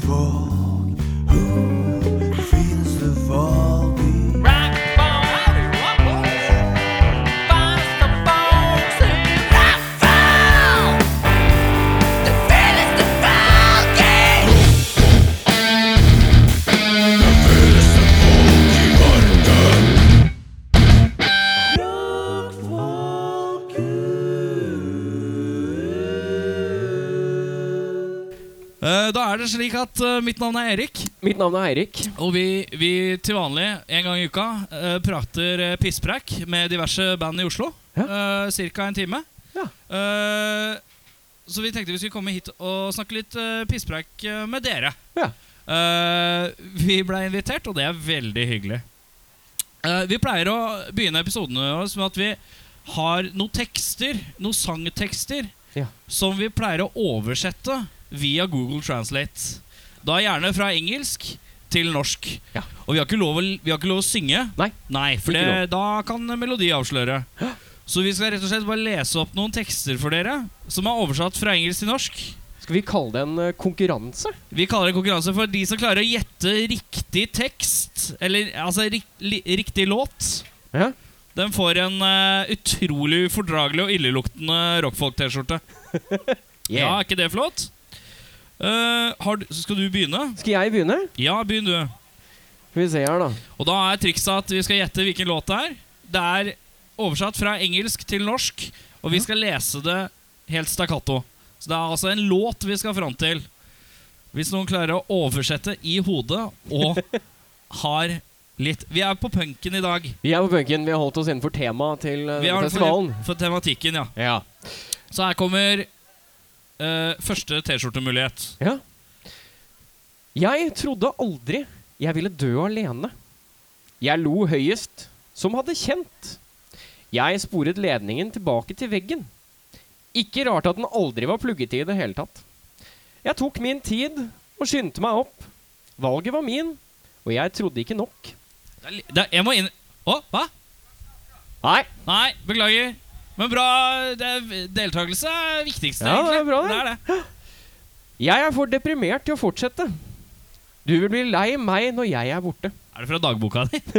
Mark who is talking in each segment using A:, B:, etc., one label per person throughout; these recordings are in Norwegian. A: folk? Who feels the fall beat?
B: Eh, Da er det slik at eh, mitt navn er Erik,
C: Mitt navn er Eirik.
B: og vi, vi til vanlig en gang i uka eh, prater eh, pisspreik med diverse band i Oslo. Ja. Cirka en time.
C: Ja.
B: Eh, så vi tenkte vi skulle komme hit og snakke litt eh, pisspreik eh, med dere.
C: Ja.
B: Eh, vi ble invitert, og det er veldig hyggelig. Eh, vi pleier å begynne episodene våre med at vi har noen tekster, noen sangtekster,
C: Ja.
B: som vi pleier å oversette via Google Translate. Da gjerne fra engelsk til norsk.
C: Ja.
B: Og vi har, ikke lov å, vi har ikke lov å synge,
C: Nei.
B: Nei for
C: Ikke
B: det, da kan melodi avsløre. Så vi skal rett og slett bare lese opp noen tekster for dere som er oversatt fra engelsk til norsk.
C: Skal vi kalle det en eh, konkurranse?
B: Vi kaller det konkurranse for de som klarer å gjette riktig tekst, eller altså rik, li, riktig låt.
C: Ja.
B: Den får en eh, utrolig ufordragelig og illeluktende rockfolk-T-skjorte. Ja, er ikke det flott? Eh, har, du- skal du begynne?
C: Skal jeg begynne?
B: Ja, begynn du.
C: Skal vi se her, da.
B: Og da er trikset at vi skal gjette hvilken låt det er. Det er oversatt fra engelsk til norsk, og vi skal lese det helt stakkato. Så det er altså en låt vi skal fram til. Hvis noen klarer å oversette i hodet og har litt Vi er på punken i dag.
C: Vi er på punken. Vi har holdt oss innenfor temaet til eh,
B: Vi er
C: festivalen.
B: for, for tematikken, ja.
C: Ja.
B: Så her kommer eh, første T-skjortemulighet.
C: ja. Jeg trodde aldri jeg ville dø alene. Jeg lo høyest, som hadde kjent. Jeg sporet ledningen tilbake til veggen. Ikke rart at den aldri var plugget i i det hele tatt. Jeg tok min tid og skyndte meg opp. Valget var min, og jeg trodde ikke nok.
B: Det er li- det er- Jeg må inn Å, hva?
C: Nei,
B: Nei, beklager. Men bra det er, deltakelse er det viktigste,
C: Ja, det er
B: egentlig.
C: bra, det.
B: det er det.
C: Jeg er for deprimert til å fortsette. Du vil bli lei meg når jeg er borte.
B: Er det fra dagboka di?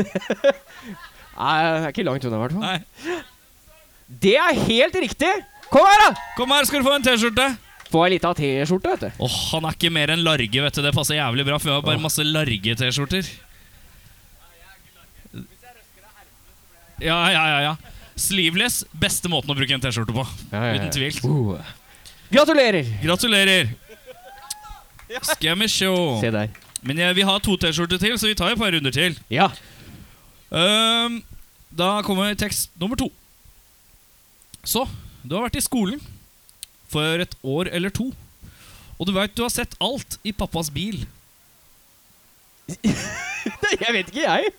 C: Nei, det er ikke langt unna, i hvert fall.
B: Nei.
C: Det er helt riktig! Kom her, da!
B: Kom her, skal du få en T-skjorte.
C: Få ei lita T-skjorte, vet du.
B: Åh, Han er ikke mer enn large, vet du. Det passer jævlig bra, for vi har bare masse large-T-skjorter. Ja, ja, ja, ja. Sleeveless, beste måten å bruke en T-skjorte på. Uten tvil.
C: Uh. Oh. Gratulerer!
B: Gratulerer. Skal vi sjå.
C: Se der.
B: Men jeg- vi har to T-skjorter til, så vi tar et par runder til.
C: Ja.
B: Ehm, da kommer tekst nummer to. Så, du har vært i skolen for et år eller to. Og du veit du har sett alt i pappas bil.
C: jeg vet ikke, jeg.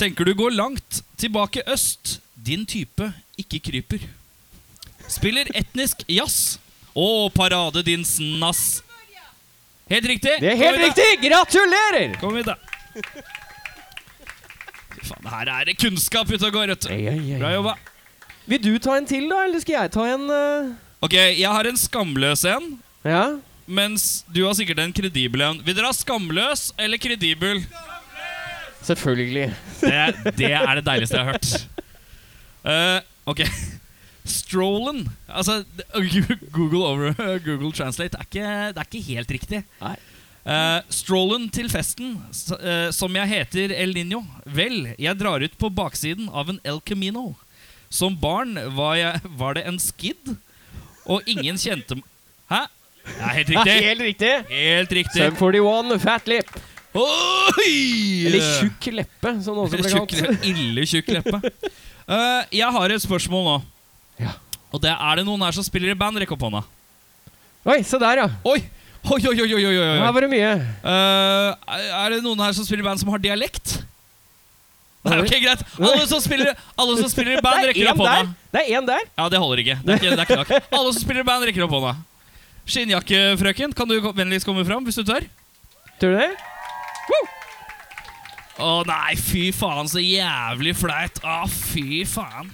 B: Tenker du går langt tilbake øst. Din type ikke kryper. Spiller etnisk jazz. Å, parade din snass. Helt riktig.
C: Det er helt
B: Kom hit da.
C: riktig! Gratulerer!
B: Kom hit, da. Fy faen, her er det kunnskap ute og går, vet du. Bra jobba.
C: Vil du ta en til, da? Eller skal jeg ta en eh?
B: Ok, jeg har en skamløs en.
C: Ja?
B: Mens du har sikkert en kredibel en. Vil dere ha skamløs eller kredibel?
C: Selvfølgelig.
B: Det, det er det deiligste jeg har hørt. Eh, ok. Strollen Altså, det- Gu- Google, over, Google Translate er ikke, det er ikke helt riktig.
C: Nei.
B: Eh, strollen til festen, s- eh, som jeg heter El Niño. Vel, jeg drar ut på baksiden av en El Camino. Som barn var, jeg, var det en skid, og ingen kjente m- Hæ? Det er helt
C: Ja,
B: riktig.
C: helt riktig.
B: Helt riktig.
C: Sum 41, fat lip.
B: Oi!
C: Eller tjukk altså, leppe, som det sånn. også ble
B: Tjukk
C: kalt.
B: ille tjukk leppe. Eh, jeg har et spørsmål nå.
C: Ja.
B: Og det er det noen her som spiller i band. Rekk opp hånda.
C: Oi, se der, ja.
B: Oi! Oi, oi, oi, oi, oi, oi.
C: Her var det mye.
B: Eh, Er det noen her som spiller i band som har dialekt? Nei, ok, greit. Alle som spiller, alle som spiller i band,
C: Det er
B: rekker
C: én
B: opp
C: der.
B: hånda.
C: Det er en der.
B: Ja, det holder ikke. Det er ikke, det er ikke nok. Alle som spiller i band, rekker opp hånda. Skinnjakkefrøken, kan du ko- vennligst komme fram hvis du tør?
C: Tror du det?
B: Å nei, fy faen, så jævlig flaut. Å, fy faen.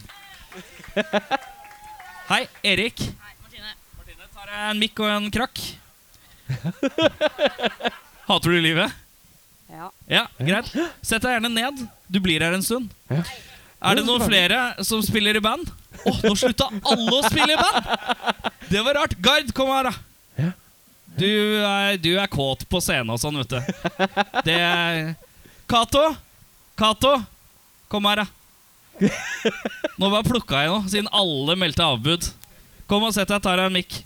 B: Hei, Erik. Martine. Martine tar jeg en mikk og en krakk. Hater du livet?
D: Ja.
B: Ja, greit. Sett deg gjerne ned. Du blir her en stund.
C: Ja.
B: Er det noen flere som spiller i band? Åh, nå slutta alle å spille i band! Det var rart. Gard, kom her, da.
C: Ja.
B: Du er, du er kåt på scenen og sånn, vet du. Det er Cato! Cato! Kom her, da. Nå bare plukka jeg noe, siden alle meldte avbud. Kom og sett deg, jeg tar deg en mikk.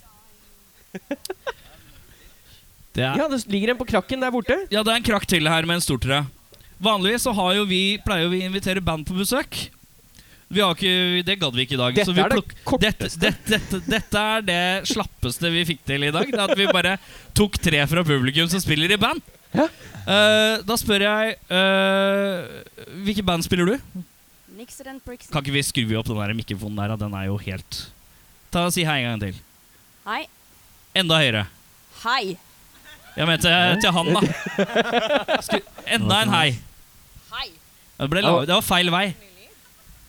B: Det er
C: Ja, det ligger en på krakken der borte.
B: ja, det er en krakk til her med en stortre. Vanligvis så har jo vi, pleier jo vi å invitere band på besøk. Vi har ikke, det gadd vi ikke i dag.
C: Dette
B: så vi
C: er det
B: plukk- dette,
C: korteste.
B: dette, dette, dette er det slappeste vi fikk til i dag. Det er at vi bare tok tre fra publikum som spiller i band.
C: Ja.
B: Eh, da spør jeg uh, Hvilke band spiller du?
D: Nixon and Prixon.
B: Kan ikke vi skru opp den der mikrofonen der? da? Den er jo helt Ta og Si hei en gang til.
D: Hei.
B: Enda høyere.
D: Hei.
B: Jeg mente eh, til han, da. Skru, enda en hei.
D: Hei.
B: Det, ble lav, det var feil vei.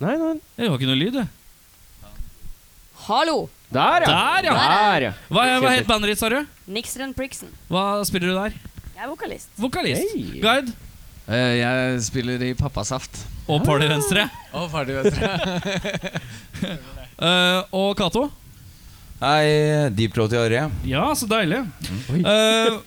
C: Nei, nei.
B: Det var ikke noe lyd, det.
D: Hallo.
C: Der, ja.
B: Der, ja!
C: Der, ja.
B: Hva, hva het bandet ditt, sa du?
D: Nixon and Prixon.
B: Hva spiller du der?
D: Jeg er vokalist.
B: Vokalist.
C: Hei.
B: Guide.
E: Eh, Jeg spiller i Pappasaft.
B: Og Party Venstre.
E: Og ferdig, vet dere.
B: Eh, og Cato.
A: Hei, Deep Throat i Arje.
B: Ja, så deilig.
C: Oi.
B: Eh,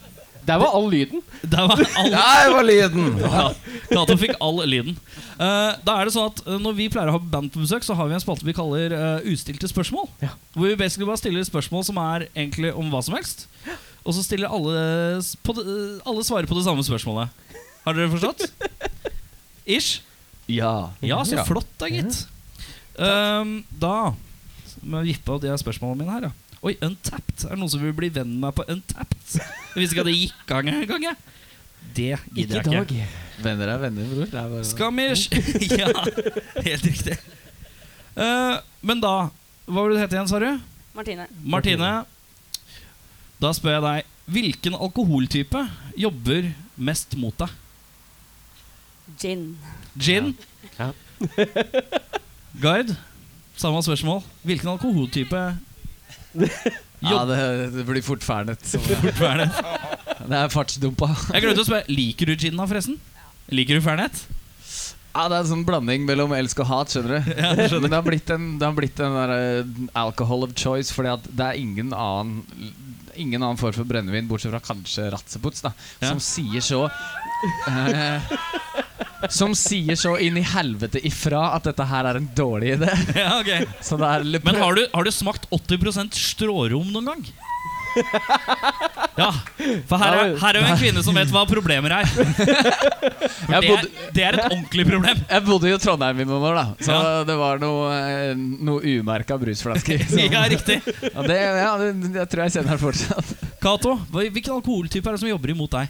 C: Der var all lyden.
B: der var all
A: Der var lyden!
B: ja, Cato fikk all lyden. Eh, da er det sånn at eh, Når vi pleier å ha band på besøk, så har vi en spalte vi kaller eh, Ustilte spørsmål.
C: Ja.
B: Hvor vi basically bare stiller spørsmål som er egentlig om hva som helst. Og så stiller alle s- på, det- eh, Alle svarer på det samme spørsmålet. Har dere forstått? Ish?
E: Ja.
B: Ja, så
A: Ja.
B: flott da, gitt. Ehm, da må jeg vippe av de her spørsmålene mine her. Ja. Oi, Untapped. Er det noen som vil bli venn med meg på Untapped? Jeg visste ikke at det gikk gang en gang. jeg. Det gidder jeg ikke.
E: Venner er venner, bror. Det er bare
B: Skal vi sj- Ja, helt riktig. Eh, men da Hva var det du het igjen, sa du?
D: Martine.
B: Martine. Da spør jeg deg Hvilken alkoholtype jobber mest mot deg?
D: Gin.
B: Gin?
C: Ja.
B: Guide? Samme spørsmål. Hvilken alkoholtype
E: Ja, det, det blir fort fernet. som jeg-
B: er det?
E: Det er fartsdumpa.
B: Jeg glemte å spørre. Liker du gin, da, forresten? Liker du Fernet?
E: Ja, det er en sånn blanding mellom elsk og hat, skjønner du. Men det har blitt en, det har blitt en der, eh, alcohol of choice, fordi at det er ingen annen Ingen annen form for brennevin, bortsett fra kanskje Ratzeputs, da,
B: Ja.
E: som sier så eh, Som sier så inn i helvete ifra at dette her er en dårlig idé.
B: Ja, ok
E: Så det er litt-
B: Men har du, har du smakt 80 strårom noen gang? Ja, for her er, her er jo en kvinne som vet hva problemer er. For
E: Jeg
B: det, er
E: bodde-
B: det er et ordentlig problem.
E: Jeg bodde jo i Trondheim i noen år, da så
B: Ja.
E: det var noe, eh, noe umerka brusflasker. Så-
B: Ja, riktig.
E: Ja, det, ja, det, jeg tror jeg kjenner det fortsatt.
B: Cato, hva- hvilken alkoholtype er det som jobber imot deg?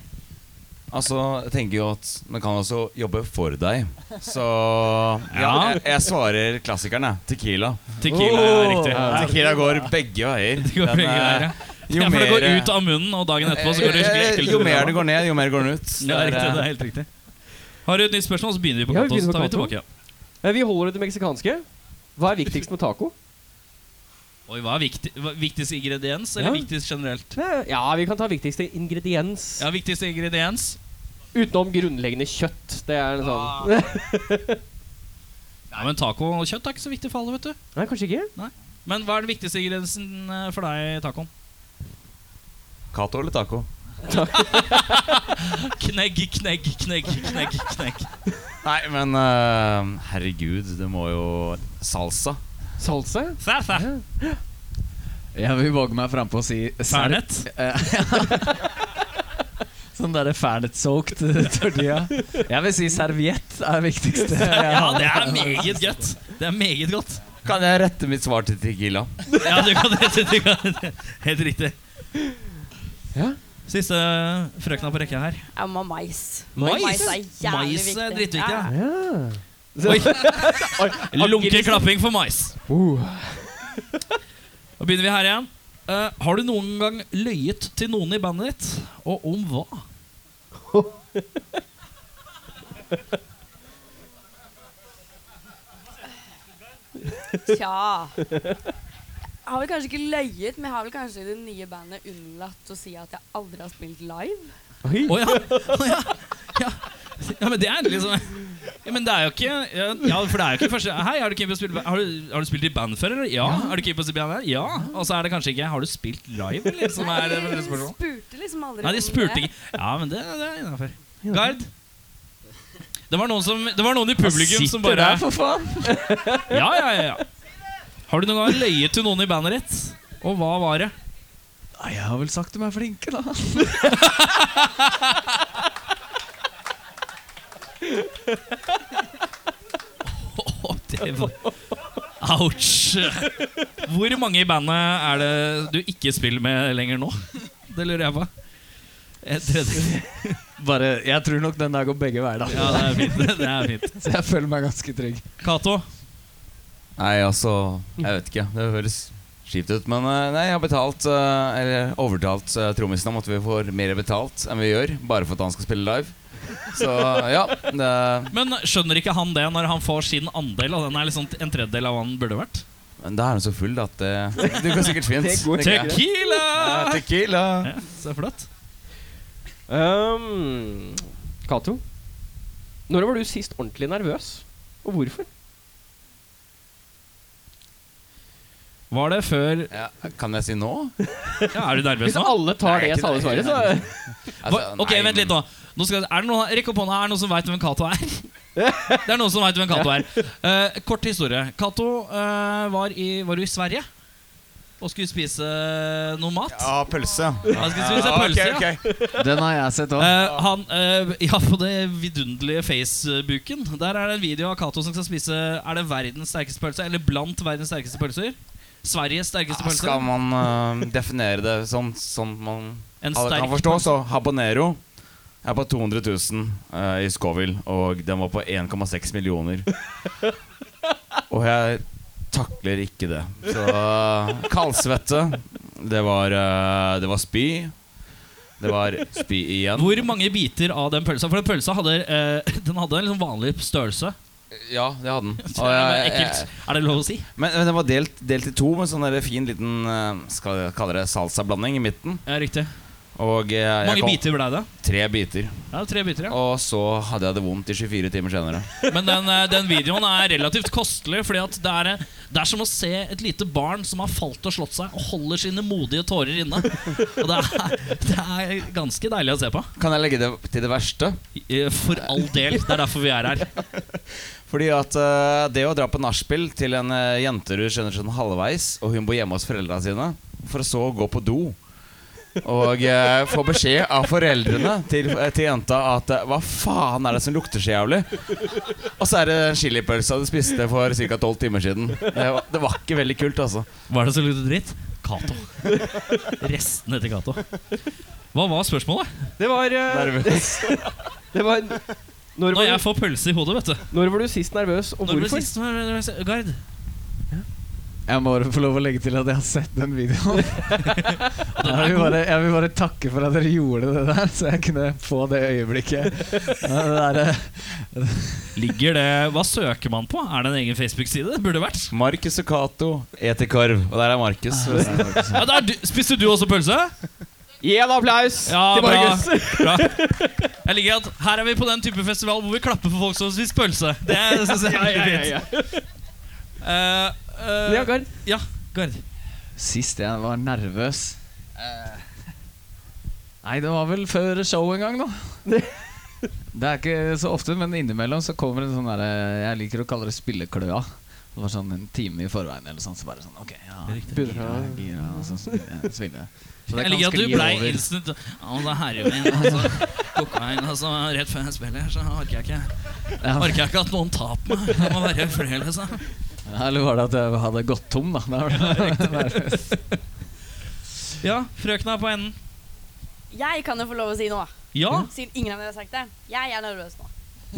A: Altså, jeg tenker jo at man kan også jobbe for deg. Så ja,
B: Ja.
A: jeg, jeg svarer klassikeren, jeg. Tequila.
B: Tequila, ja, riktig.
A: Tequila går begge veier.
B: Det går begge
A: Den, eh,
B: veier, ja.
A: jo
B: ja, for det går
A: mer-
B: ut av munnen, og dagen etterpå så går det skikkelig
A: Eh,
B: ekkelt.
A: Jo
B: ut i
A: mer
B: ræva.
A: det går ned, jo mer går den ut.
B: Ja, det er
A: Det
B: riktig,
A: er, eh,
B: det er helt riktig. Har du et nytt spørsmål, så begynner vi på
C: Ja, vi
B: Cato. så
C: begynner
B: tar vi
C: på
B: tilbake.
C: Eh, Vi holder det til meksikanske. Hva er viktigst med taco?
B: Oi, hva er viktig, hva, viktigst ingrediens, eller
C: Ja.
B: viktigst generelt?
C: Eh, Ja, vi kan ta viktigste ingrediens.
B: Ja, viktigst ingrediens.
C: Utenom grunnleggende kjøtt. Det er en sånn
B: Ja, men taco og kjøtt er ikke så viktig for alle, vet du.
C: Nei, kanskje ikke?
B: Men hva er den viktigste ingrediensen eh, for deg i tacoen?
A: Cato eller taco?
B: Knegg, knegg, knegg, knegg, knegg.
A: Nei, men eh, herregud, det må jo Salsa.
C: Salsa?
B: Salsa.
E: Jeg vil våge meg frampå og si serp.
B: Fernet.
E: Eh, sånn derre fernet-soaked eh, tortilla. Jeg vil si serviett er det viktigste.
B: Ja, det er meget godt. Det er meget godt.
A: Kan jeg rette mitt svar til Tequila?
B: Ja, du kan det. Du kan det. Helt riktig.
C: Ja.
B: Siste frøkna på rekka her.
D: Jeg må ha mais.
B: Mais?
D: er jævlig
B: Mais er
D: viktig.
B: drittviktig, ja.
C: Ja.
B: Oi. Lunker klapping for mais.
C: Uh.
B: Da begynner vi her igjen. Eh, har du noen gang løyet til noen i bandet ditt? Og om hva?
D: Tja. Jeg har vel kanskje ikke løyet, men jeg har vel kanskje i det nye bandet unnlatt å si at jeg aldri har spilt live.
C: Oi.
B: Å ja. å ja. ja. Ja, men det er liksom ja, Men det er jo ikke Ja, ja, for det er jo ikke første Hei, har du, keen på å spille, har du, har du spilt i band før, eller? Ja. Har du keen på å spille i band? her? Ja. Og så er det kanskje ikke Har du spilt live, eller? Som er det første
D: De
B: spørsmålet.
D: spurte liksom aldri.
B: Nei, de
D: om
B: spurte
D: det.
B: ikke. Ja, men det, det er innafor. Gard? Det var, noen som, det var noen i publikum som
E: Det
B: bare
E: der, sånn. for faen!
B: Ja, ja, ja, ja. Har du noen gang løyet til noen i bandet ditt? Og hva var det?
E: Nei, jeg har vel sagt de er flinke, da.
B: Å, det var Ouch! Hvor mange i bandet er det du ikke spiller med lenger nå? Det lurer jeg på. Et tredje.
E: Bare, Jeg tror nok den der går begge veier, da.
B: Ja, det er fint. Det er fint.
E: Så jeg føler meg ganske trygg.
B: Cato,
A: Nei, altså Jeg vet ikke. Det høres kjipt ut. Men eh, nei, jeg har betalt, eh, eller overtalt eh, trommisen om at vi får mer betalt enn vi gjør, bare for at han skal spille live. Så ja. Det,
B: men skjønner ikke han det når han får sin andel? Og den er liksom en tredjedel av hva den burde vært?
A: men da er han så full at det, det går sikkert fint.
C: Det går
A: tenker jeg. Ja,
B: Tequila!
A: Tequila.
B: Ja, så flott.
C: Um, Cato, når var du sist ordentlig nervøs? Og hvorfor?
B: Var det før
A: Ja, kan jeg si nå?
B: ja, Er du nervøs
C: Hvis
B: nå?
C: alle tar
A: Nei,
C: det
A: ikke
C: samme
A: det.
C: svaret, så
A: Altså,
B: Hva- ok,
A: nei,
B: vent litt nå. nå skal, er det noen, rekk opp hånda. Er det noen som veit hvem Cato er? Det er noen som vet hvem Cato er. Eh, kort historie. Cato eh, var, i- var du i Sverige og skulle spise eh, noe mat.
A: Ja, pølse.
B: Han skulle spise pølse, ja.
E: Den har jeg sett òg.
B: Eh, han, eh, ja, på det vidunderlige Facebooken Der er det en video av Cato som skal spise Er det verdens sterkeste pølse? Eller blant verdens sterkeste pølser? Sveriges sterkeste
A: Ja,
B: pølse?
A: Skal man eh, definere det sånn, sånn man
B: En
A: alle
B: sterk
A: kan forstå,
B: pølse.
A: så habanero er på 200 000 eh, i Scoville, og den var på 1,6 millioner. og jeg takler ikke det. Så eh, kaldsvette, det var, eh, det var spy. Det var spy igjen.
B: Hvor mange biter av den pølsa? For den pølsa hadde, eh, den hadde en liksom vanlig størrelse.
A: Ja, det hadde den. Og jeg-
B: Men Ekkelt. Er det lov å si?
A: men, men den var delt, delt i to med sånn der fin liten eh, Skal jeg kalle det salsablanding i midten.
B: Ja, riktig.
A: Og eh, jeg
B: mange
A: kom-
B: biter ble det?
A: Tre biter.
B: Ja, tre biter, ja.
A: Og så hadde jeg det vondt i 24 timer senere.
B: Men den, eh, den videoen er relativt kostelig, fordi at det er, eh, det er som å se et lite barn som har falt og slått seg, og holder sine modige tårer inne. Og det er, det er ganske deilig å se på.
A: Kan jeg legge det til det verste?
B: Eh, For all del. Det er derfor vi er her.
A: Fordi at eh, det å dra på nachspiel til en eh, jente du kjenner sånn halvveis, og hun bor hjemme hos foreldra sine, for så å gå på do og eh, få beskjed av foreldrene til, eh, til jenta at eh, Hva faen er det som lukter så jævlig? Og så er det den chilipølsa du spiste for ca. tolv timer siden. Det var, det var ikke veldig kult, altså.
B: Var det så luktet dritt? Cato. Restene til Cato. Hva var spørsmålet?
C: eh, det var, eh,
A: Nervøs.
C: det var når,
B: Når
C: var
B: jeg
C: du,
B: får pølse i hodet, vet du.
C: når var du sist nervøs, og
B: Når ble
C: hvorfor?
B: sist Gard?
E: Jeg må bare få lov å legge til at jeg har sett den videoen. Jeg vil bare, jeg vil bare takke for at dere gjorde det der, så jeg kunne få det øyeblikket. Ja, Det der, eh,
B: Ligger det Hva søker man på? Er det en egen Facebook-side? Det Burde det vært.
A: Markus og Cato eter korv. Og der er Markus.
B: Ja, Ah, det er du, spiste du også pølse?
C: Gi en applaus
B: Ja,
C: til
B: bra.
C: Markus!
B: bra. Jeg liker at Her er vi på den type festival hvor vi klapper for folk som har spist pølse. Det synes jeg er veldig fint. Eh, eh,
C: Ja, Gard.
B: ja, Gard.
E: Sist jeg var nervøs eh, Nei, det var vel før show en gang, da. Det er ikke så ofte, men innimellom så kommer en sånn derre Jeg liker å kalle det spillekløa. Det var sånn en time i forveien eller sånn, så bare sånn OK, ja. Gira, gira, og så spiller jeg. Spiller. jeg. Så
B: Jeg
E: kan
B: liker at du
E: skli
B: blei
E: over.
B: instant Å, det er herreveien, altså. Kokain, altså. Rett før jeg spiller, så orker jeg ikke
E: Ja.
B: Orker jeg ikke at noen tar på meg. Det må være flere, liksom.
E: Ja, Eller var det at jeg hadde gått tom, da? Da var det nervøs.
B: Ja, frøkna er på enden.
D: Jeg kan jo få lov å si noe,
B: Ja.
D: siden ingen av dere har sagt det. Jeg er nervøs nå.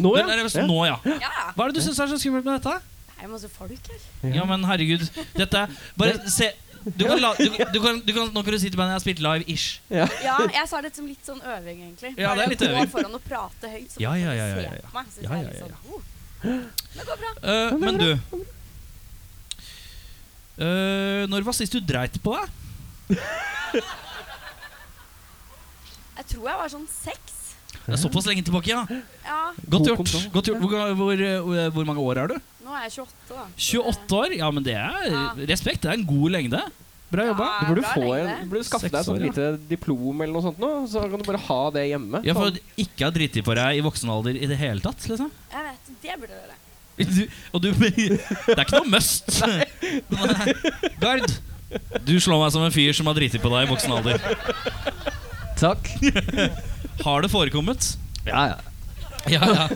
C: Nå,
B: Den er
C: ja.
B: liksom nå, ja.
D: Ja.
B: Hva er det du syns er så skummelt med dette?
D: Det er jo masse folk her.
B: Ja, men herregud. Dette er Bare se. Du kan la, du, du kan, du kan, nå kan du si til bandet jeg har spilt live-ish.
D: Ja, jeg sa det som litt sånn øving, egentlig.
B: Ja, det er litt
D: Bare
B: øving.
D: gå foran og prate høyt, så
B: Ja,
D: folk
B: ja, ja, ja, ja.
D: ser på meg. Så
B: Ja,
D: jeg er
B: ja,
D: litt
B: ja,
D: sånn, oh. Det går bra.
B: Eh, men du eh, Når var sist du dreit på deg?
D: Jeg tror jeg var sånn seks.
B: Det er såpass lenge tilbake, ja.
D: Ja,
B: Godt
C: God
B: gjort.
C: kontroll.
B: Godt gjort. Hvor, ga- hvor, eh, hvor mange år er du?
D: nå er jeg 28, da.
B: 28 år? Ja, men det er
D: Ja.
B: respekt. Det er en god lengde. Bra jobba.
D: Ja,
C: Du burde,
D: bra
C: få en,
D: lengde.
C: du burde skaffe deg et
B: Seks år,
C: sånt lite diplom eller noe sånt, nå, så kan du bare ha det hjemme.
B: Jeg får ikke ha driti på deg i voksen alder i det hele tatt. liksom
D: Jeg vet, Det burde dere.
B: du, Og du Det er ikke noe must. Nei. Gard, du slår meg som en fyr som har driti på deg i voksen alder.
E: Takk.
B: Har det forekommet?
E: Ja, ja.
B: Ja, ja.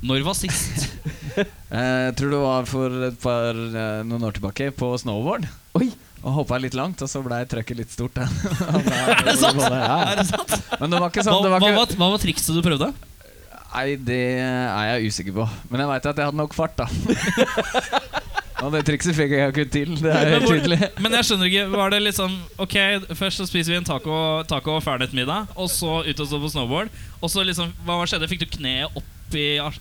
B: Når var sist?
E: Eh, Jeg tror det var for et par, eh, noen år tilbake på snowboard.
C: Oi.
E: Og hoppa litt langt, og så blei trøkket litt stort.
B: Er det sant?
E: Ja.
B: Er det sant?
E: Men det var ikke
B: Hva,
E: sånn. Det
B: hva,
E: var ikke,
B: var, hva var trikset du prøvde?
E: nei, det er jeg usikker på. Men jeg veit at jeg hadde nok fart, da. Og det trikset fikk jeg jo ikke til. Det er
B: Men
E: helt
B: hvor-
E: tydelig.
B: Men jeg skjønner ikke, var det liksom Ok, først så spiser vi en taco, taco og ferdighetmiddag Og så ut og stå på snowboard Og så liksom, hva skjedde? Fikk du kneet opp i ars-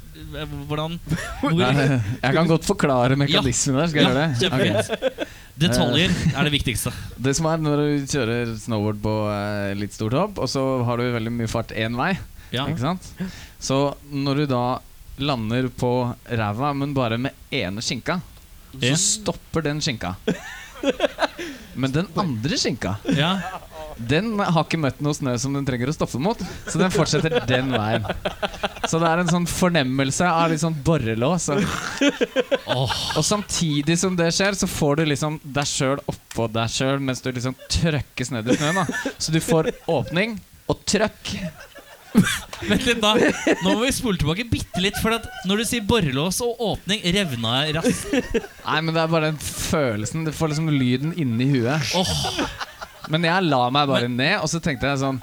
B: Hvordan? Hvor,
E: Nei, Jeg kan godt forklare mekanismen der. Skal jeg
B: Ja,
E: gjøre det? Ok.
B: kjempefint Detaljer er det viktigste
E: Det som er når du kjører snowboard på eh, litt stort hopp, og så har du veldig mye fart én vei,
B: Ja,
E: ikke sant? Så når du da lander på ræva, men bare med ene skinka, så
B: Ja.
E: stopper den skinka. Men den andre skinka,
B: ja.
E: den har ikke møtt noe snø som den trenger å stoppe mot, så den fortsetter den veien. Så det er en sånn fornemmelse av litt sånn borrelås. Og,
B: Åh,
E: og samtidig som det skjer, så får du liksom deg sjøl oppå deg sjøl mens du liksom trøkkes ned i snøen. da Så du får åpning og trøkk.
B: Vent litt da Nå må vi spole tilbake bittelitt For at når du sier borrelås og åpning Revna jeg raskt
E: Nei, men det er bare den følelsen. Du får liksom lyden inni huet.
B: Åh,
E: Men jeg la meg bare ned, og så tenkte jeg sånn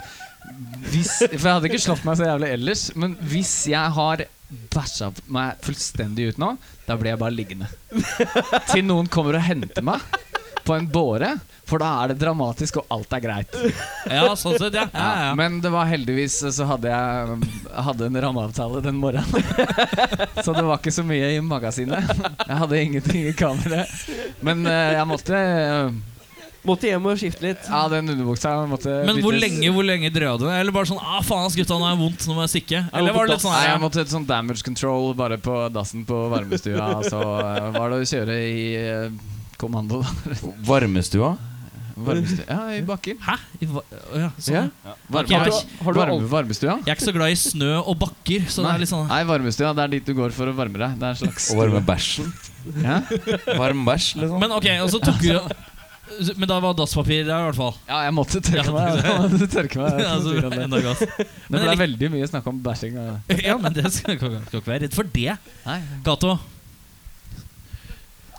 E: hvis, For jeg hadde ikke slått meg så jævlig ellers, men hvis jeg har bæsja meg fullstendig ut nå, da blir jeg bare liggende. Til noen kommer og henter meg på en båre, for da er det dramatisk, og alt er greit.
B: ja, sånn sett, ja, ja, ja.
E: Men det var heldigvis så hadde jeg hadde en rammeavtale den morgenen. Så det var ikke så mye i magasinet. Jeg hadde ingenting i kammeret. Men eh, jeg måtte eh,
C: Måtte hjem og skifte litt.
E: Ja, den underbuksa måtte
B: Men hvor
E: byttes.
B: lenge, hvor lenge drøya du? Eller bare sånn Ah, faen ass, gutta, nå er jeg vondt, nå må jeg stikke. Eller var det litt sånn
E: Nei, jeg
B: ja.
E: måtte et sånn damage control bare på dassen på varmestua. Så eh, var det å kjøre i eh, kommando, da.
A: Varmestua?
E: Varmestua. Ja, i bakken.
B: Hæ? I hva- Å ja, sånn.
C: Ja.
E: Varme,
B: Har
C: Har du,
B: du-
C: har du
E: varme,
C: alt?
E: varmestua?
B: Jeg er ikke så glad i snø og bakker, så det er litt sånn
E: Nei, varmestua. Det er dit du går for å varme deg. Det er en slags
A: Og varme bæsjen?
E: Ja.
A: Varm bæsj, liksom?
B: Men ok, og så tok du Men da var dasspapir der, i hvert fall.
E: Ja, jeg måtte tørke
B: Ja,
E: meg. Jeg måtte tørke meg.
B: Ja, så bra. Enda godt.
E: Det
B: Men
E: ble
B: lik-
E: veldig mye snakk om bæsjing. ja.
B: ja, men det skal skal ikke være redd for det. Gato.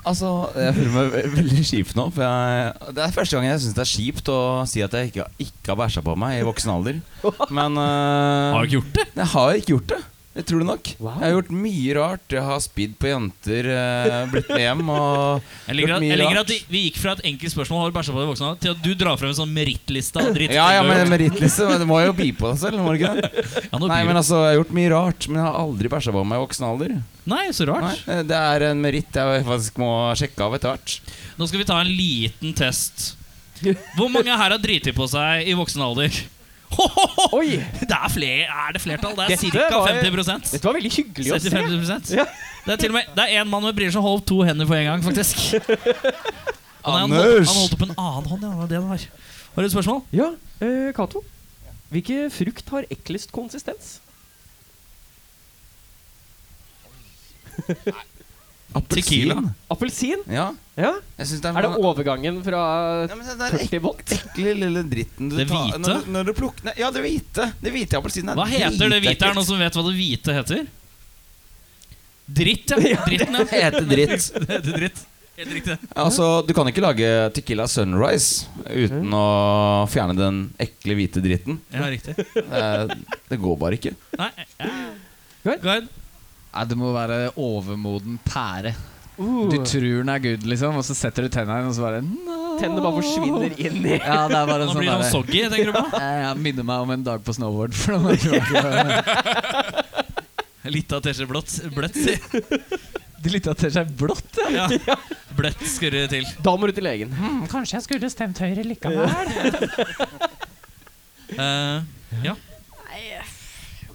A: Altså, Jeg føler meg ve- veldig kjip nå. For jeg, det er første gang jeg syns det er kjipt å si at jeg ikke, ikke har bæsja på meg i voksen alder. Men eh,
B: Har du ikke gjort det?
A: jeg har ikke gjort det. Jeg tror det nok.
C: Wow.
A: Jeg har gjort mye rart. Jeg har spydd på jenter, eh, blitt med hjem og
B: Jeg liker
A: Gjort
B: at,
A: mye
B: jeg liker
A: rart.
B: at vi, vi gikk fra et enkelt spørsmål Har du bæsja på deg i voksen alder, til at du drar frem en sånn merittliste av dritt.
A: Ja, ja,
B: du har
A: men
B: gjort.
A: merittliste. men Du må jo by på deg selv, må du ikke det?
B: Ja, nå
A: Nei,
B: blir
A: men
B: det-
A: altså, jeg har gjort mye rart, men jeg har aldri bæsja på meg i voksen alder.
B: Nei, så rart.
A: altså- Nei, eh, det er en meritt jeg faktisk må sjekke av etter hvert.
B: Nå skal vi ta en liten test. Hvor mange her har driti på seg i voksen alder? Hohoho!
C: Oi!
B: Det er, fler, er det flertall? Det
C: Dette
B: er ca.
C: var-
B: 50
C: Dette var veldig hyggelig å se.
B: 75
C: Ja.
B: Det er til og med Det er en mann med briller som holdt opp to hender på en gang, faktisk. Han, han, holdt,
A: Anders!
B: han holdt opp en annen hånd. Ja, det var det det var. Har du et spørsmål?
C: Ja, eh, Cato. Hvilken frukt har eklest konsistens?
B: Tequila.
C: Appelsin?
A: Ja.
C: Ja?
A: Jeg synes det er,
C: Er det overgangen fra
A: Ja, men det der
C: tørt til vått?
A: ekle lille dritten du
B: Det
A: tar-
B: hvite?
A: Når, når du plukker Nei, Ja, det hvite. Det hvite i appelsinen er
B: Hva heter det hvite? Er det noen som vet hva det hvite heter? Dritt, ja. Dritten, ja.
A: Heter dritt.
B: Det heter dritt. Helt riktig.
A: Altså, Du kan ikke lage Tequila Sunrise uten å fjerne den ekle, hvite dritten.
B: Ja, riktig.
A: Eh, Det går bare ikke.
B: Nei, ja.
C: Gard?
B: Gard?
E: Nei, det må være overmoden pære.
C: Uh,
E: Du tror den er good, liksom, og så setter du tenna i den, og så bare no.
C: Tennene bare forsvinner inn i
E: Ja, det er bare
B: Nå
E: sånn
B: blir han
E: derre
B: soggy, tenker du på?
E: jeg, jeg minner meg om en dag på snowboard. For det var ikke
B: Litt av teskje blått. Bløtt.
E: De lytta til seg blått.
B: Ja. Bløtt skurrer til.
C: Da må du til legen.
B: Hm.
E: kanskje jeg skulle stemt Høyre likevel.
B: Eh,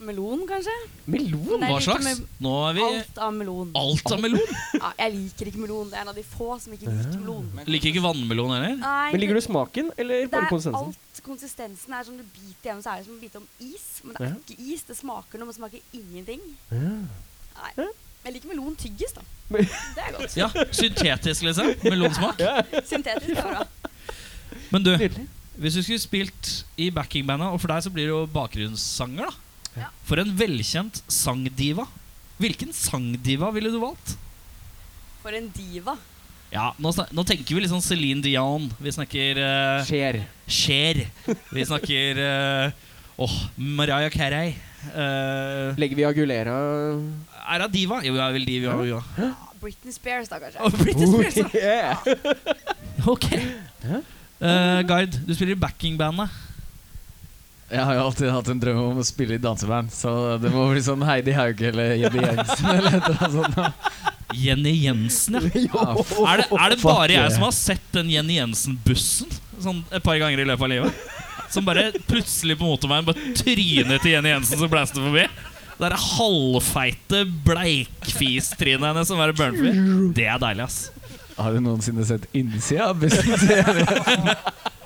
D: Melon, kanskje?
C: Melon?
D: Nei,
B: Hva
D: jeg liker
B: slags? Nå er vi
D: Alt av melon.
B: Alt av melon?
D: Ja, jeg liker ikke melon. Det er en av de få som ikke liker melon.
B: Liker ikke vannmelon heller.
D: Nei,
C: Men Liker du smaken eller
D: det
C: bare
D: er
C: konsistensen?
D: alt konsistensen er sånn du biter igjen, så er det som å bite om is. Men det er
C: Ja.
D: ikke is. Det smaker noe, men smaker ingenting.
C: Ja.
D: Nei.
C: Ja.
D: Jeg liker melon tyggis, da.
C: Men-
D: Det er godt.
B: Ja, Syntetisk, liksom. Melonsmak.
D: Syntetisk er bra.
B: Men du,
C: Nydelig.
B: hvis du skulle spilt i backingbandet, og for deg så blir det jo bakgrunnssanger, da.
D: Ja.
B: For en velkjent sangdiva. Hvilken sangdiva ville du valgt?
D: For en diva.
B: Ja, Nå, snak- nå tenker vi litt sånn Celine Dion. Vi snakker eh,
C: Skjer.
B: Cher. Vi snakker eh, Åh, Mariah Carey. Eh,
C: Legger vi agulera
B: er hun diva? Jo, hun er vel diva. hun, Ja.
D: Ja, Britney Spears, da, kanskje.
B: Og Britney Spears,
D: sånn.
B: da.
C: yeah.
B: Ok. Eh, Gard, du spiller i backingbandet.
E: Jeg har jo alltid hatt en drøm om å spille i danseband, så det må bli sånn Heidi Hauge eller Jebbe Jensen eller et eller annet sånt.
B: Jenny Jensen, ja.
E: Ja,
B: Er det, er det
E: Fuck
B: bare
E: yeah.
B: jeg som har sett den Jenny Jensen-bussen sånn et par ganger i løpet av livet? Som bare plutselig på motorveien bare trynet til Jenny Jensen som blæste forbi. Det er halvfeite bleikfistrynet hennes som er burnfree. Det er deilig, ass.
E: Har du noensinne sett innsida av bussen? til Jebbe Jensen?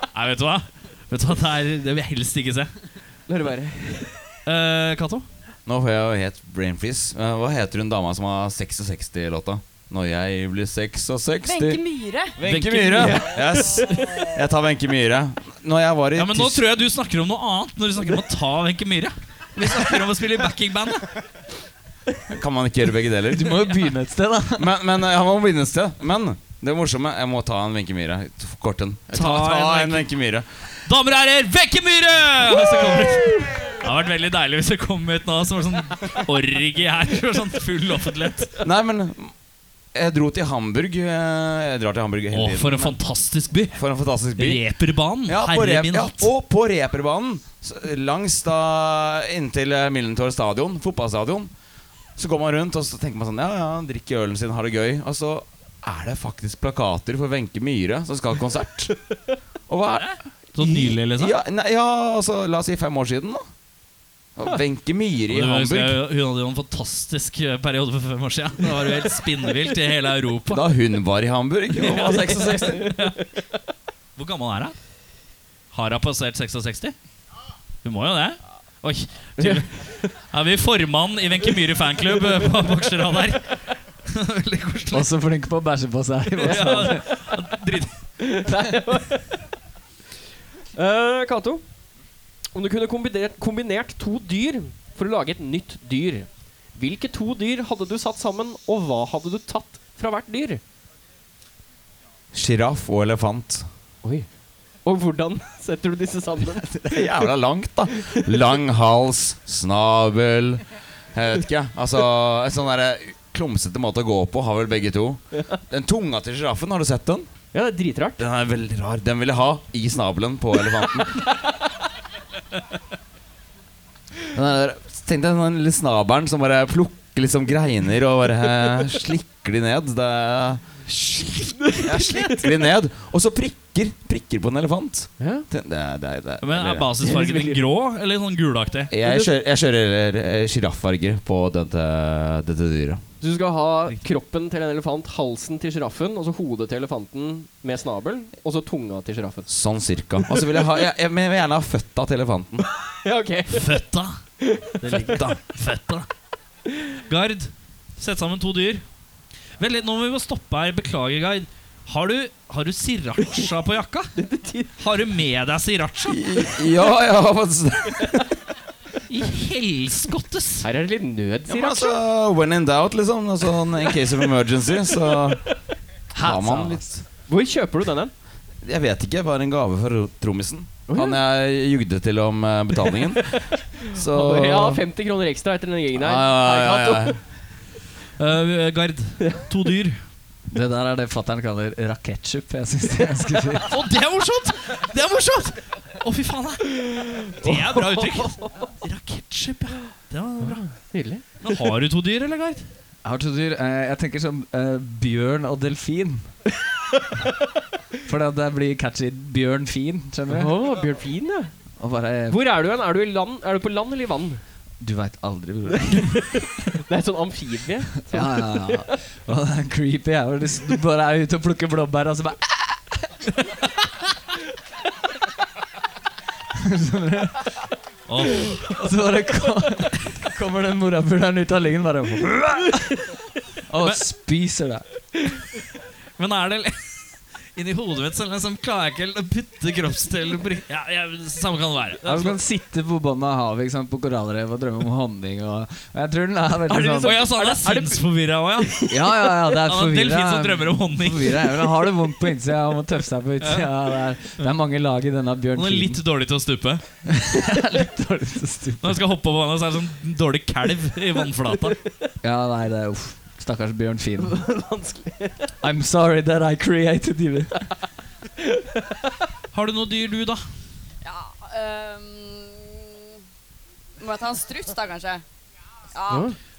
B: Nei, vet du hva? Vet du hva? Det, er, det vil jeg helst ikke se.
C: La det være.
B: Eh, Cato?
A: Nå får jeg jo helt brain freeze. Eh, Hva heter hun dama som har 66-låta? Når jeg blir 66
D: Wenche Myhre.
A: Wenche Myhre! Yes. Jeg tar Wenche Myhre. Når jeg var i
B: Ja, men nå
A: Tysk-
B: tror jeg du snakker om noe annet når du snakker om å ta Wenche Myhre. Vi snakker om å spille i backingbandet.
A: Kan man ikke gjøre begge deler?
E: Du må jo begynne et sted, da.
A: Men, men eh, jeg må begynne et sted. Men det morsomme Jeg må ta en Wenche Myhre. Kort en. Jeg tar-
B: Ta en
A: ta en
B: Wenche-
A: Wenche Myhre.
B: Damer og herrer, Wenche Myhre! Hvis det, kommer ut. det hadde vært veldig deilig hvis det kom ut nå som en sånn orgie her. som var Sånn full offentlighet.
A: Nei, men jeg dro til Hamburg. eh, Jeg drar til Hamburg
B: Å,
A: hele tiden.
B: for en fantastisk by.
A: For en fantastisk by.
B: Reperbanen.
A: Ja, på
B: Herre
A: rep,
B: min
A: ja,
B: hatt.
A: og på reperbanen, så- langs da inntil eh, Millentor stadion, fotballstadion, så går man rundt og så tenker man sånn Ja, ja, drikker ølen sin, har det gøy. Og så er det faktisk plakater for Wenche Myhre som skal ha konsert. Og hva er
B: Så nylig, liksom.
A: Ja, nei, ja, altså, la oss si fem år siden, da. Og Wenche Myhre i
B: Og du husker
A: Hamburg.
B: jo- Hun hadde jo en fantastisk eh, periode for fem år siden. Da var det jo helt spinnvilt i hele Europa.
A: Da hun var i Hamburg og var 66.
B: Hvor gammel er hun? Har hun passert 66? Hun må jo det. Oi. tydelig. Er vi formann i Wenche Myhre fanklubb eh, på Bokserad her? Veldig koselig.
E: Også flink på å bæsje på seg.
B: Ja, drit.
C: Eh, Cato, om du kunne kombinert, kombinert to dyr for å lage et nytt dyr, hvilke to dyr hadde du satt sammen, og hva hadde du tatt fra hvert dyr?
A: Sjiraff og elefant.
C: Oi. Og hvordan setter du disse sammen?
A: Det er jævla langt, da. Lang hals, snabel Jeg vet ikke. Altså, en sånn der klumsete måte å gå på har vel begge to. Den tunga til sjiraffen, har du sett den?
C: Ja, det er dritrart.
A: Den er veldig rar. Den vil jeg ha i snabelen på elefanten. Den der, tenk deg den lille snabelen som bare plukker liksom greiner og bare slikker de ned. Det er- ja, slikker de ned. Og så prikker. Prikker på en elefant.
C: Ja.
A: Det, det, er- det, er- det, er-
B: Men Er basisfargen din grå eller sånn gulaktig?
A: Jeg kjører, jeg kjører eh, sjirafffarger på dette, dette dyret.
C: Så du skal ha kroppen til en elefant, halsen til sjiraffen, og så hodet til elefanten med snabel, og så tunga til sjiraffen.
A: Sånn cirka. Og så vil jeg ha Jeg, jeg, men jeg vil gjerne ha føtta til elefanten.
C: Ja, ok.
B: Føtta. Føtta. Føtta. Gard, sett sammen to dyr. Vent litt, nå må vi bare stoppe her. Beklager, Gard. Har du, har du sriracha på jakka? Har du med deg sriracha?
A: Ja, ja, men,
B: I helskottes!
C: Her er det litt nød,
A: ja,
C: sier
A: men altså, When in doubt, liksom. Altså, in case of emergency, så har man litt
C: Hvor kjøper du den hen?
A: Jeg vet ikke. Bare en gave fra trommisen.
C: Å, ja.
A: Han jeg jugde til om eh, betalingen. Så
C: Ja, 50 kroner ekstra etter den gjengen
A: ja,
C: her.
A: ja, ja, ja.
B: Eh, Gard, to dyr.
E: Det der er det fatter'n kaller rakettsjup. Jeg synes det er ganske fint.
B: Å, det er morsomt! Det er morsomt! Å, fy faen. Det er bra uttrykk. Rakettskip, ja. Det var bra.
C: Nydelig.
B: Men har du to dyr, eller, Gard?
E: Jeg har to dyr. Eh, Jeg tenker som eh, bjørn og delfin. For det, det blir catchy bjørn-fin, skjønner du.
C: Åh, Bjørn Fin, ja.
E: Og bare
C: Hvor er du hen? Er du, i land? er du på land eller i vann?
E: Du veit aldri, bror.
C: Det er sånn amfibie.
E: Ja, ja, ja. Og det er creepy. Jeg, hvor du- du bare er ute og plukker blåbær, og så bare
B: Åh,
E: Og så bare kom, kommer den morapuleren ut av lyngen bare Og spiser deg.
B: Men er det Inni hodet mitt så liksom klarer jeg ikke å putte kroppsdelen på rik- ja, ja, Samme kan det være.
E: Ja, du kan sitte på bunnen av havet ikke sant, på korallrev og drømme om honning. Og, og jeg tror den er
B: Er det
E: veldig
B: liksom,
E: sånn
B: jeg sa det er sinnsforvirra òg, ja.
E: Ja, ja, ja, det er
B: Han er delfin som
E: forvirra.
B: drømmer om honning.
E: Forvirra er vel Han har det vondt på innsida og må tøffe seg på utsida. Det, er- det er mange lag i denne Bjørn
B: Han er litt dårlig til å stupe.
E: Fien.
B: Når han skal hoppe over vannet, så er det sånn en dårlig kalv i vannflata.
E: Ja, nei, det er uff. Stakkars Bjørn Fien.
C: Vanskelig.
E: I'm sorry that I created you.
B: Har du noe dyr, du, da?
F: Ja
D: ehm,
F: øhm, Må jeg ta en struts, da, kanskje? Ja.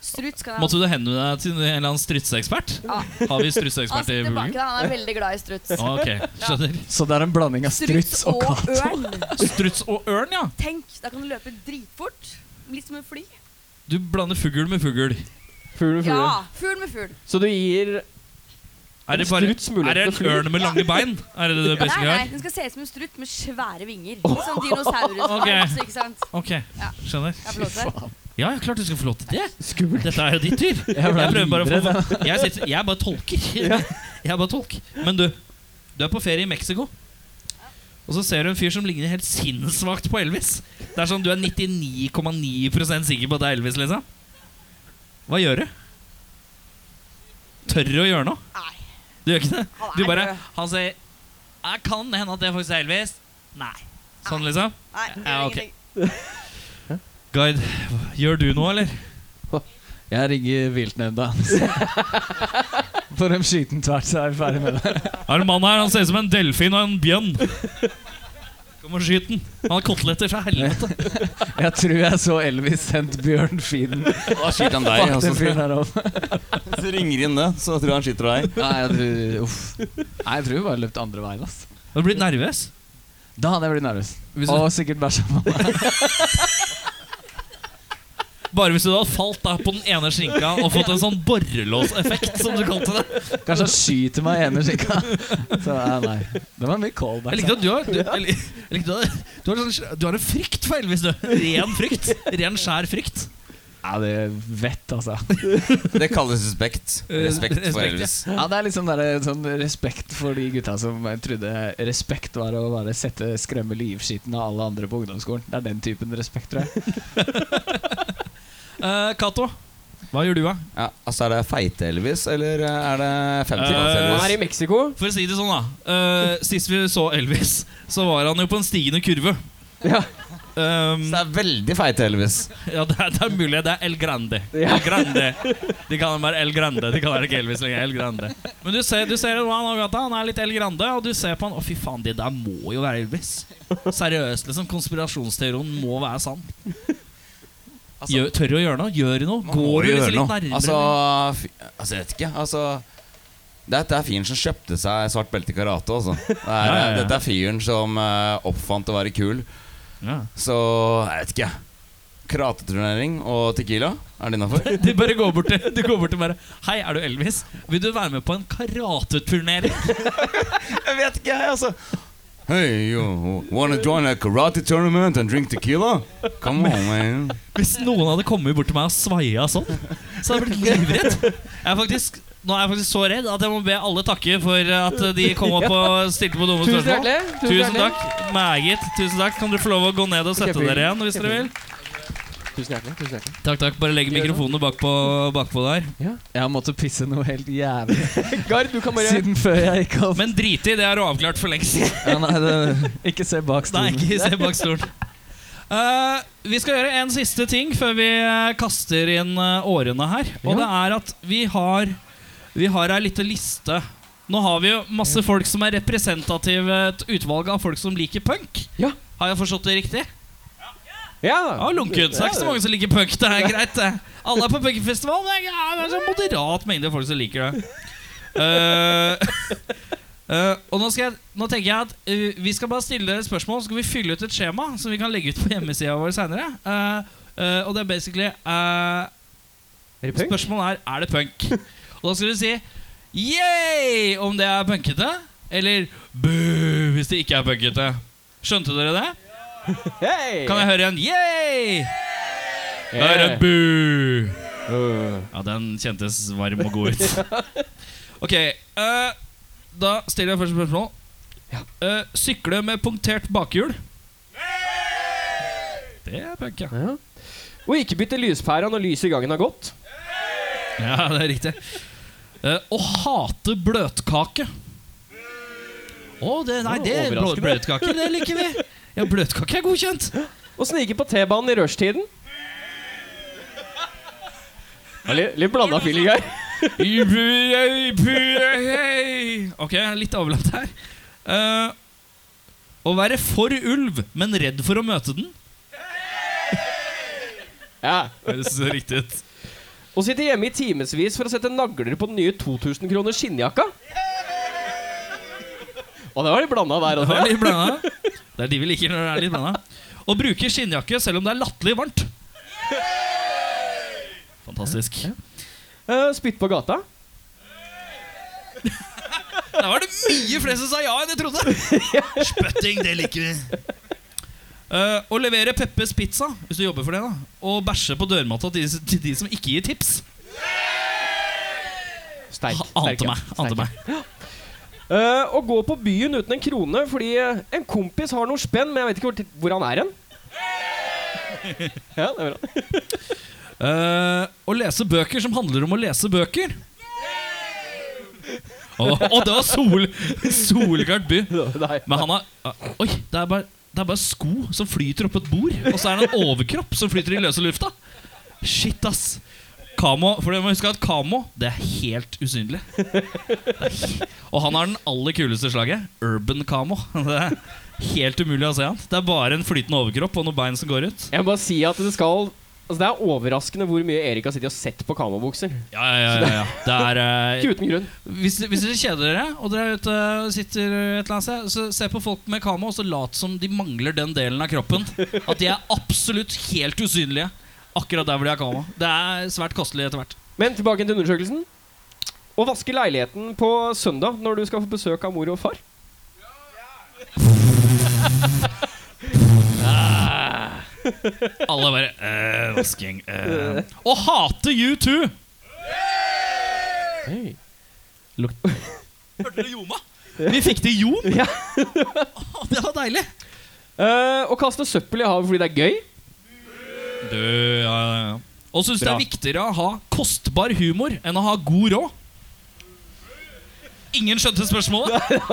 F: Struts kan jeg
B: Måtte du henvende deg til en eller annen strutseekspert?
F: Ja.
B: Har vi
D: Ah,
F: Han
B: strutseekspert
F: sitter
B: i
F: baki
B: publikum?
F: der, han er veldig glad i struts.
B: Å, Ok, skjønner
E: Så det er en blanding av struts og katt.
F: ørn.
B: Struts og ørn, ja.
D: Tenk, da kan du løpe dritfort. Litt som en fly.
B: Du blander fugl med fugl.
C: Fugl med fugl.
F: Ja. Fugl med fugl.
C: Så du gir
B: Er det bare
C: Struts mulighet
B: er det en
C: til å fly.
B: ørn med lange bein? Er det det beste
D: Nei,
B: vi
D: nei,
B: har?
D: Den skal se ut som en strutt med svære vinger. Litt sånn dinosaurus.
B: Ok.
D: Ikke sant?
B: Ok, skjønner.
F: Jeg får lov til det.
B: Ja, ja, klart du skal få lov til det.
C: skummelt
B: Dette er jo ditt dyr. Jeg, prøver bare å få jeg, sitter, jeg bare tolker. Jeg bare tolker. Men du, du er på ferie i Mexico. Og så ser du en fyr som ligner helt sinnssvakt på Elvis. Det er sånn, Du er 99,9 sikker på at det er Elvis, liksom. Hva gjør du? Tør du å gjøre noe?
F: Nei.
B: Du gjør ikke det?
F: Han er
B: Du bare,
F: død.
B: Han sier Jeg kan det hende at det faktisk er Elvis. Nei. Sånn, liksom.
F: Nei, det
B: Ja,
F: er
B: ok.
F: ingenting.
B: Guide, hva- gjør du noe, eller?
E: Jeg ringer viltnemnda. For dem skyter den tvert, så er vi ferdig med det.
B: Er det en mann her? Han ser ut som en delfin og en bjønn. Kom og skyt den. Han har koteletter fra helvete.
E: Jeg tror jeg så Elvis sendt Bjørn Fien
A: Da skyter han deg.
E: bak den fyren
A: Altså.
E: her opp.
A: Så ringer inn det, så tror jeg han skyter deg.
E: Nei, jeg tror Uff. Nei, jeg tror vi bare løpt andre veien, ass.
B: Har du blitt nervøs?
E: Da hadde jeg blitt nervøs.
B: Hvis
E: Og
B: du,
E: sikkert bæsja på meg.
B: bare hvis du hadde falt da på den ene skinka og fått en sånn borrelåseffekt, som du kalte det.
E: Kanskje han skyter meg i ene skinka. Så nei, nei. Det var mye
B: Jeg
E: callback.
B: likte
E: altså.
B: at du har Du, jeg lik- jeg likte at du, har, sånn, du har en frykt for Elvis, du. Ren frykt. Ren, skjær frykt.
E: Ja, det er vett, altså.
A: Det kalles respekt. Respekt
B: Respekt,
A: for
B: ja.
A: Elvis.
E: Ja, Det er liksom der, sånn respekt for de gutta som trodde respekt var å bare sette skremme livskiten av alle andre på ungdomsskolen. Det er den typen respekt, tror jeg.
B: Eh, Cato, hva gjør du, da?
A: Ja, altså Er det feite-Elvis, eller er
B: Eh,
A: det
C: Han er i
A: 50-talls-Elvis?
C: Mexico.
B: For å si det sånn, da. eh, sist vi så Elvis, så var han jo på en stigende kurve.
C: Ja.
B: Um,
A: Så det er veldig feite-Elvis.
B: Ja, det er, det er mulig. Det er El Grande.
C: Ja.
B: El Grande. De kaller meg El Grande. De kaller det ikke Elvis lenger. El Grande. Men du ser, du ser jo han over gata. Han er litt El Grande, og du ser på han Å, fy faen, det der må jo være Elvis. Seriøst, liksom. Konspirasjonsteorien må være sann.
A: Altså,
B: Gjør, tør du å gjøre noe? Gjør du noe?
A: Man må
B: Går du
A: jo
B: liksom
A: gjøre
B: litt
A: noe.
B: nærmere?
A: Altså, fy- altså, jeg vet ikke. Altså, dette er fyren som kjøpte seg svart belte i karate. Altså. Det er,
B: Ja, ja, ja.
A: Dette er fyren som eh, oppfant å være kul.
B: ja.
A: Så jeg vet ikke. Karateturnering og Tequila, er det innafor?
B: De bare går bort til, de går bort til bare Hei, er du Elvis? Vil du være med på en karateturnering?
A: Jeg vet ikke, jeg, altså. Hey, you wanna join a karate tournament and drink tequila? Come on, man.
B: Hvis noen hadde kommet bort til meg og svaia sånn, så hadde jeg blitt livredd. Jeg er faktisk, nå er jeg faktisk så redd at jeg må be alle takke for at de kom opp og stilte på dumme
C: Tusen
B: spørsmål.
C: hjertelig.
B: Tusen takk. Meget. Tusen takk. Kan dere få lov å gå ned og sette
C: Kjempefint.
B: dere igjen hvis dere vil?
C: Tusen hjertelig. Tusen hjertelig.
B: Takk, takk. Bare legg mikrofonene bakpå, bakpå der.
E: Jeg har måttet pisse noe helt jævlig
C: Gard, du kan bare
E: siden før jeg gikk opp.
B: Men drit i, det er avklart for lengst.
E: Ja, nei, det, ikke se bak
B: Nei,
E: stolen.
B: ikke se bak stolen. Eh, vi skal gjøre en siste ting før vi eh, kaster inn eh, årene her. Og
C: Ja.
B: det er at vi har Vi har ei lita liste. Nå har vi jo masse folk som er representative et utvalg av folk som liker punk.
C: Ja.
B: Har jeg forstått det riktig?
C: Ja.
B: Ja, lunkent. Det er ikke så mange som liker punk. Det er greit, det. Alle er på punkfestival, men det er en sånn moderat mengde folk som liker det. Eh, eh, og nå, skal jeg, nå tenker jeg at eh, vi skal bare stille dere spørsmål, så skal vi fylle ut et skjema som vi kan legge ut på hjemmesida vår seinere. Eh, og det er basically eh,
C: Er det punk?
B: Spørsmålet er er det punk. Og da skal du si yeah om det er punkete, eller boo hvis det ikke er punkete. Skjønte dere det?
C: Hey!
B: Kan jeg høre en yeah? Da er det
C: Yeah.
B: boo.
C: Øh.
B: Ja, den kjentes varm og god ut. Ok, eh, da stiller jeg første spørsmål.
C: Ja.
B: Eh, sykle med punktert bakhjul. Det er punk, ja.
C: Ja. Og ikke bytte lyspæra når lyset i gangen har gått.
B: Ja, det er riktig. Eh, å hate bløtkake. Å, det, nei, det
C: Å,
B: blå,
C: overraskende.
B: bløtkake det liker vi. Ja, bløtkake er godkjent.
C: Og snike på T-banen i rushtiden. Ja, litt litt blanda feeling her.
B: Ok, litt avlangt her. Eh, å være for ulv, men redd for å møte den.
C: Ja.
B: Høres riktig ut.
C: Å sitte hjemme i timevis for å sette nagler på den nye 2000 kroner skinnjakka. Og det var litt blanda der
B: Det var
C: også.
B: litt blanda. Det er de vi liker når det er litt blanda. Å bruke skinnjakke selv om det er latterlig varmt. Fantastisk.
C: Eh, spytt på gata.
B: Der var det mye flere som sa ja enn jeg trodde. Spytting, det liker vi. Eh, å levere Peppes pizza hvis du jobber for det da og bæsje på dørmatta til, de- til de som ikke gir tips.
C: Sterk.
B: Ha- Ante meg. ante meg
C: Eh, å gå på byen uten en krone fordi eh, en kompis har noe spenn, men jeg vet ikke hvor, hvor han er hen. Ja, det er bra.
B: Eh, Å lese bøker som handler om å lese bøker. Og det var sol, Solgard by.
C: Nei.
B: Men han har ah, Oi, det er bare det er bare sko som flyter oppå et bord, og så er det en overkropp som flyter i løse lufta. Shit, ass. Kamo, for dere må huske at Kamo det er helt usynlig. Det er he- Og han har den aller kuleste slaget. Urban Kamo. Det er helt umulig å se han. Det er bare en flytende overkropp og noen bein som går ut.
C: Jeg må bare si at det skal Altså Det er overraskende hvor mye Erik har sittet og sett på kamobukser.
B: Ja, ja, ja, ja, ja. Det er eh,
C: Ikke uten grunn.
B: Hvis, hvis dere kjeder dere og dere er ute og sitter et eller annet sted, så se på folk med kamo og så lat som de mangler den delen av kroppen. At de er absolutt helt usynlige akkurat der hvor de har kamo. Det er svært kostelig etter hvert.
C: Men tilbake til undersøkelsen. Å vaske leiligheten på søndag når du skal få besøk av mor og far.
B: Alle bare øh, vasking. Øh. Og hate U2! Hørte dere Joma? Vi fikk til Jon.
C: Ja.
B: Å, det var deilig.
C: Eh, å kaste søppel i havet fordi det er gøy.
B: Du, ja, ja, ja. Og syns det
C: Bra.
B: er viktigere å ha kostbar humor enn å ha god råd. Ingen skjønte spørsmålet.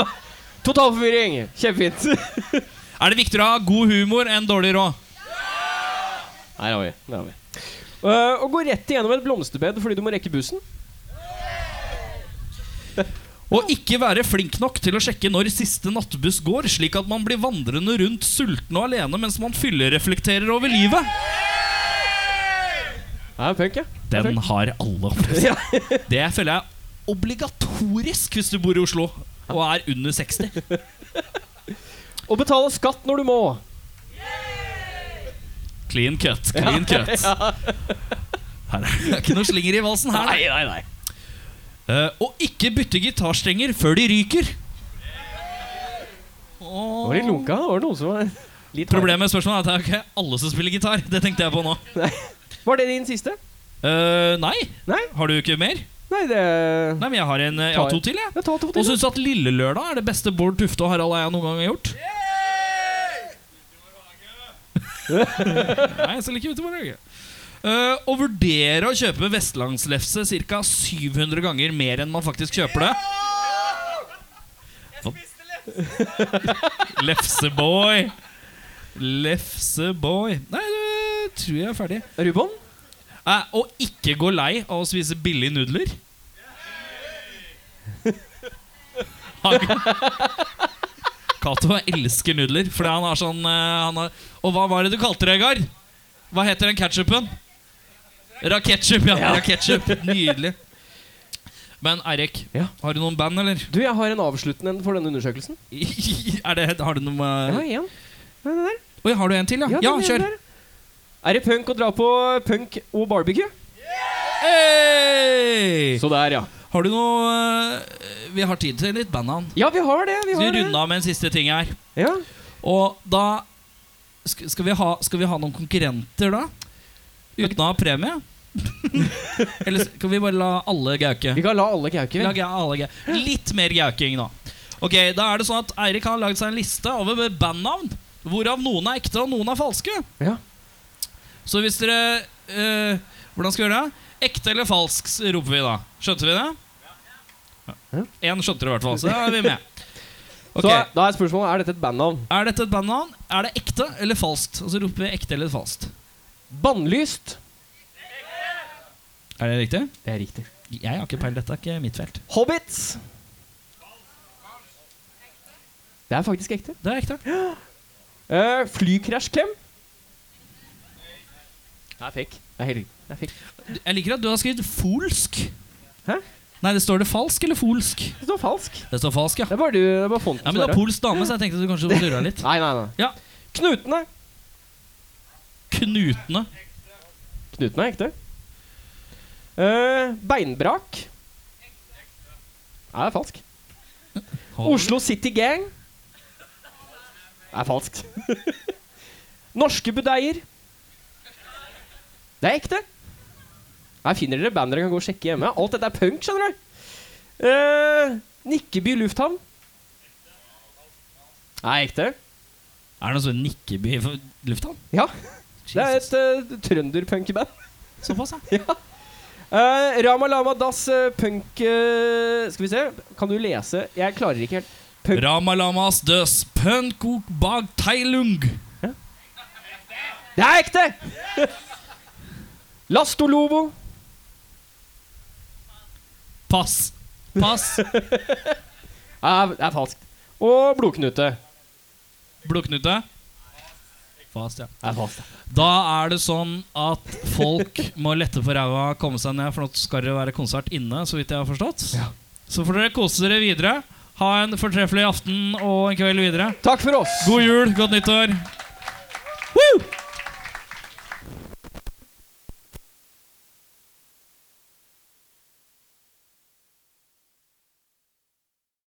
C: Totalforvirring. Kjempefint.
B: Er det viktigere å ha god humor enn dårlig råd?
C: Her har vi. Der har vi. Eh, å gå rett igjennom et blomsterbed fordi du må rekke bussen.
B: Og ikke være flink nok til å sjekke når siste nattbuss går, slik at man blir vandrende rundt sulten og alene mens man fyllereflekterer over livet.
C: Det er punk, ja. Det er
B: Den
C: punk.
B: har alle opplevd.
C: Ja.
B: Det føler jeg er obligatorisk hvis du bor i Oslo og er under 60.
C: Å betale skatt når du må.
B: Clean cut, clean cut. Her er det er ikke noe slinger i valsen her. Nei, nei, nei. og ikke bytte gitarstrenger før de ryker.
C: Det var litt lunka. Det var noen som var litt
B: Problemet med spørsmålet er at det er jo ikke alle som spiller gitar. Det tenkte jeg på nå.
C: Var det din siste?
B: Eh, nei.
C: Nei?
B: Har du ikke mer?
C: Nei, det
B: Nei, men jeg har, en, eh, jeg har to til, jeg.
C: Jeg tar to
B: Og
C: til.
B: syns at Lille Lørdag er det beste Bård Tufte og Harald Eia noen gang har gjort. nei, så liker vi ikke Bård Hage. Eh, Å vurdere å kjøpe vestlandslefse ca. 700 ganger mer enn man faktisk kjøper det. Jeg spiste lefse. Lefseboy. Lefseboy. Nei, det tror jeg er ferdig.
C: da. Rubon?
B: Eh, og ikke gå lei av å spise billige nudler. Han- Cato elsker nudler, fordi han har sånn eh, han har, Og hva var det du kalte det, Egard? Hva heter den ketsjupen? Raketchup, ja. Raketchup. Nydelig. Men Eirik,
C: Ja.
B: har du noen band, eller?
C: Du, jeg har en avsluttende for denne undersøkelsen.
B: er det, har du noe
C: Jeg
B: eh,
C: har en. Den der.
B: Oi, har du en til, ja?
C: Ja,
B: Ja,
C: den
B: kjør.
C: der. Er det punk å dra på punk og barbecue?
B: Hey!
C: Så der, ja.
B: Har du noe eh, Vi har tid til litt bandnavn.
C: Ja, vi har det. Vi
B: Skal
C: har
B: vi
C: det.
B: runde av med en siste ting her?
C: Ja.
B: Og da sk- Skal vi ha, skal vi ha noen konkurrenter, da? Uten å ha premie? Eller skal vi bare la alle gauke?
C: Vi kan la alle kauke.
B: La
C: vel?
B: ga- alle gau- Litt mer gauking, da. Ok, da er det sånn at Eirik har lagd seg en liste over bandnavn. Hvorav noen er ekte, og noen er falske.
C: Ja.
B: Så hvis dere eh, Hvordan skal vi gjøre det? Ekte eller falsk, s- roper vi da. Skjønte vi det?
C: Ja.
B: Én skjønte det i hvert fall, så da er vi med.
C: Så
B: Ok,
C: da er spørsmålet er dette et bandnavn.
B: Er dette et bandnavn? Er det ekte eller falskt? Og så roper vi ekte eller falskt.
C: Bannlyst.
B: Er det riktig?
C: Det er riktig.
B: Jeg har ikke peil, dette er ikke mitt felt.
C: Hobbits. Det er faktisk ekte.
B: Det er ekte.
C: Uh, Flykrasjklem. Det er fake. Det er helt riktig. Det er fake.
B: Jeg liker at du har skrevet folsk.
C: Hæ?
B: Nei, det står det falsk eller folsk?
C: Det står falsk.
B: Det står falsk, ja.
C: Det er bare, du, det er bare fonten
B: Ja, men det er polsk dame, så jeg tenkte du kanskje lura litt.
C: Nei, nei, nei.
B: Ja.
C: Knutene.
B: Knutene.
C: Knutene er ekte. Eh, beinbrak. Nei, det er falsk. Oslo City Gang. Det er falskt. Norske budeier. Det er ekte. Her finner dere band dere kan gå og sjekke hjemme. Alt dette er punk, skjønner du. Eh, Nikkeby lufthavn. Det er ekte.
B: Er det noe sånn Nikkeby for lufthavn?
C: Ja. Det er
B: Jesus.
C: et uh, trønderpunkband.
B: Såpass, ja.
C: Eh, Rama Lama Das eh, Punk eh, Skal vi se, kan du lese? Jeg klarer ikke helt. Punk.
B: Ramalamas døs pønkok bag teilung.
C: Det er ekte! Lastolobo.
B: Pass. Pass.
C: Ja, det er falskt. Og Blodknute.
B: Blodknute. Fast, ja.
C: Det er falskt.
B: Da er det sånn at folk må lette på ræva, komme seg ned, for nå skal det være konsert inne, så vidt jeg har forstått. Så får dere kose dere videre. Ha en fortreffelig aften og en kveld videre.
C: Takk for oss.
B: God jul, godt nyttår.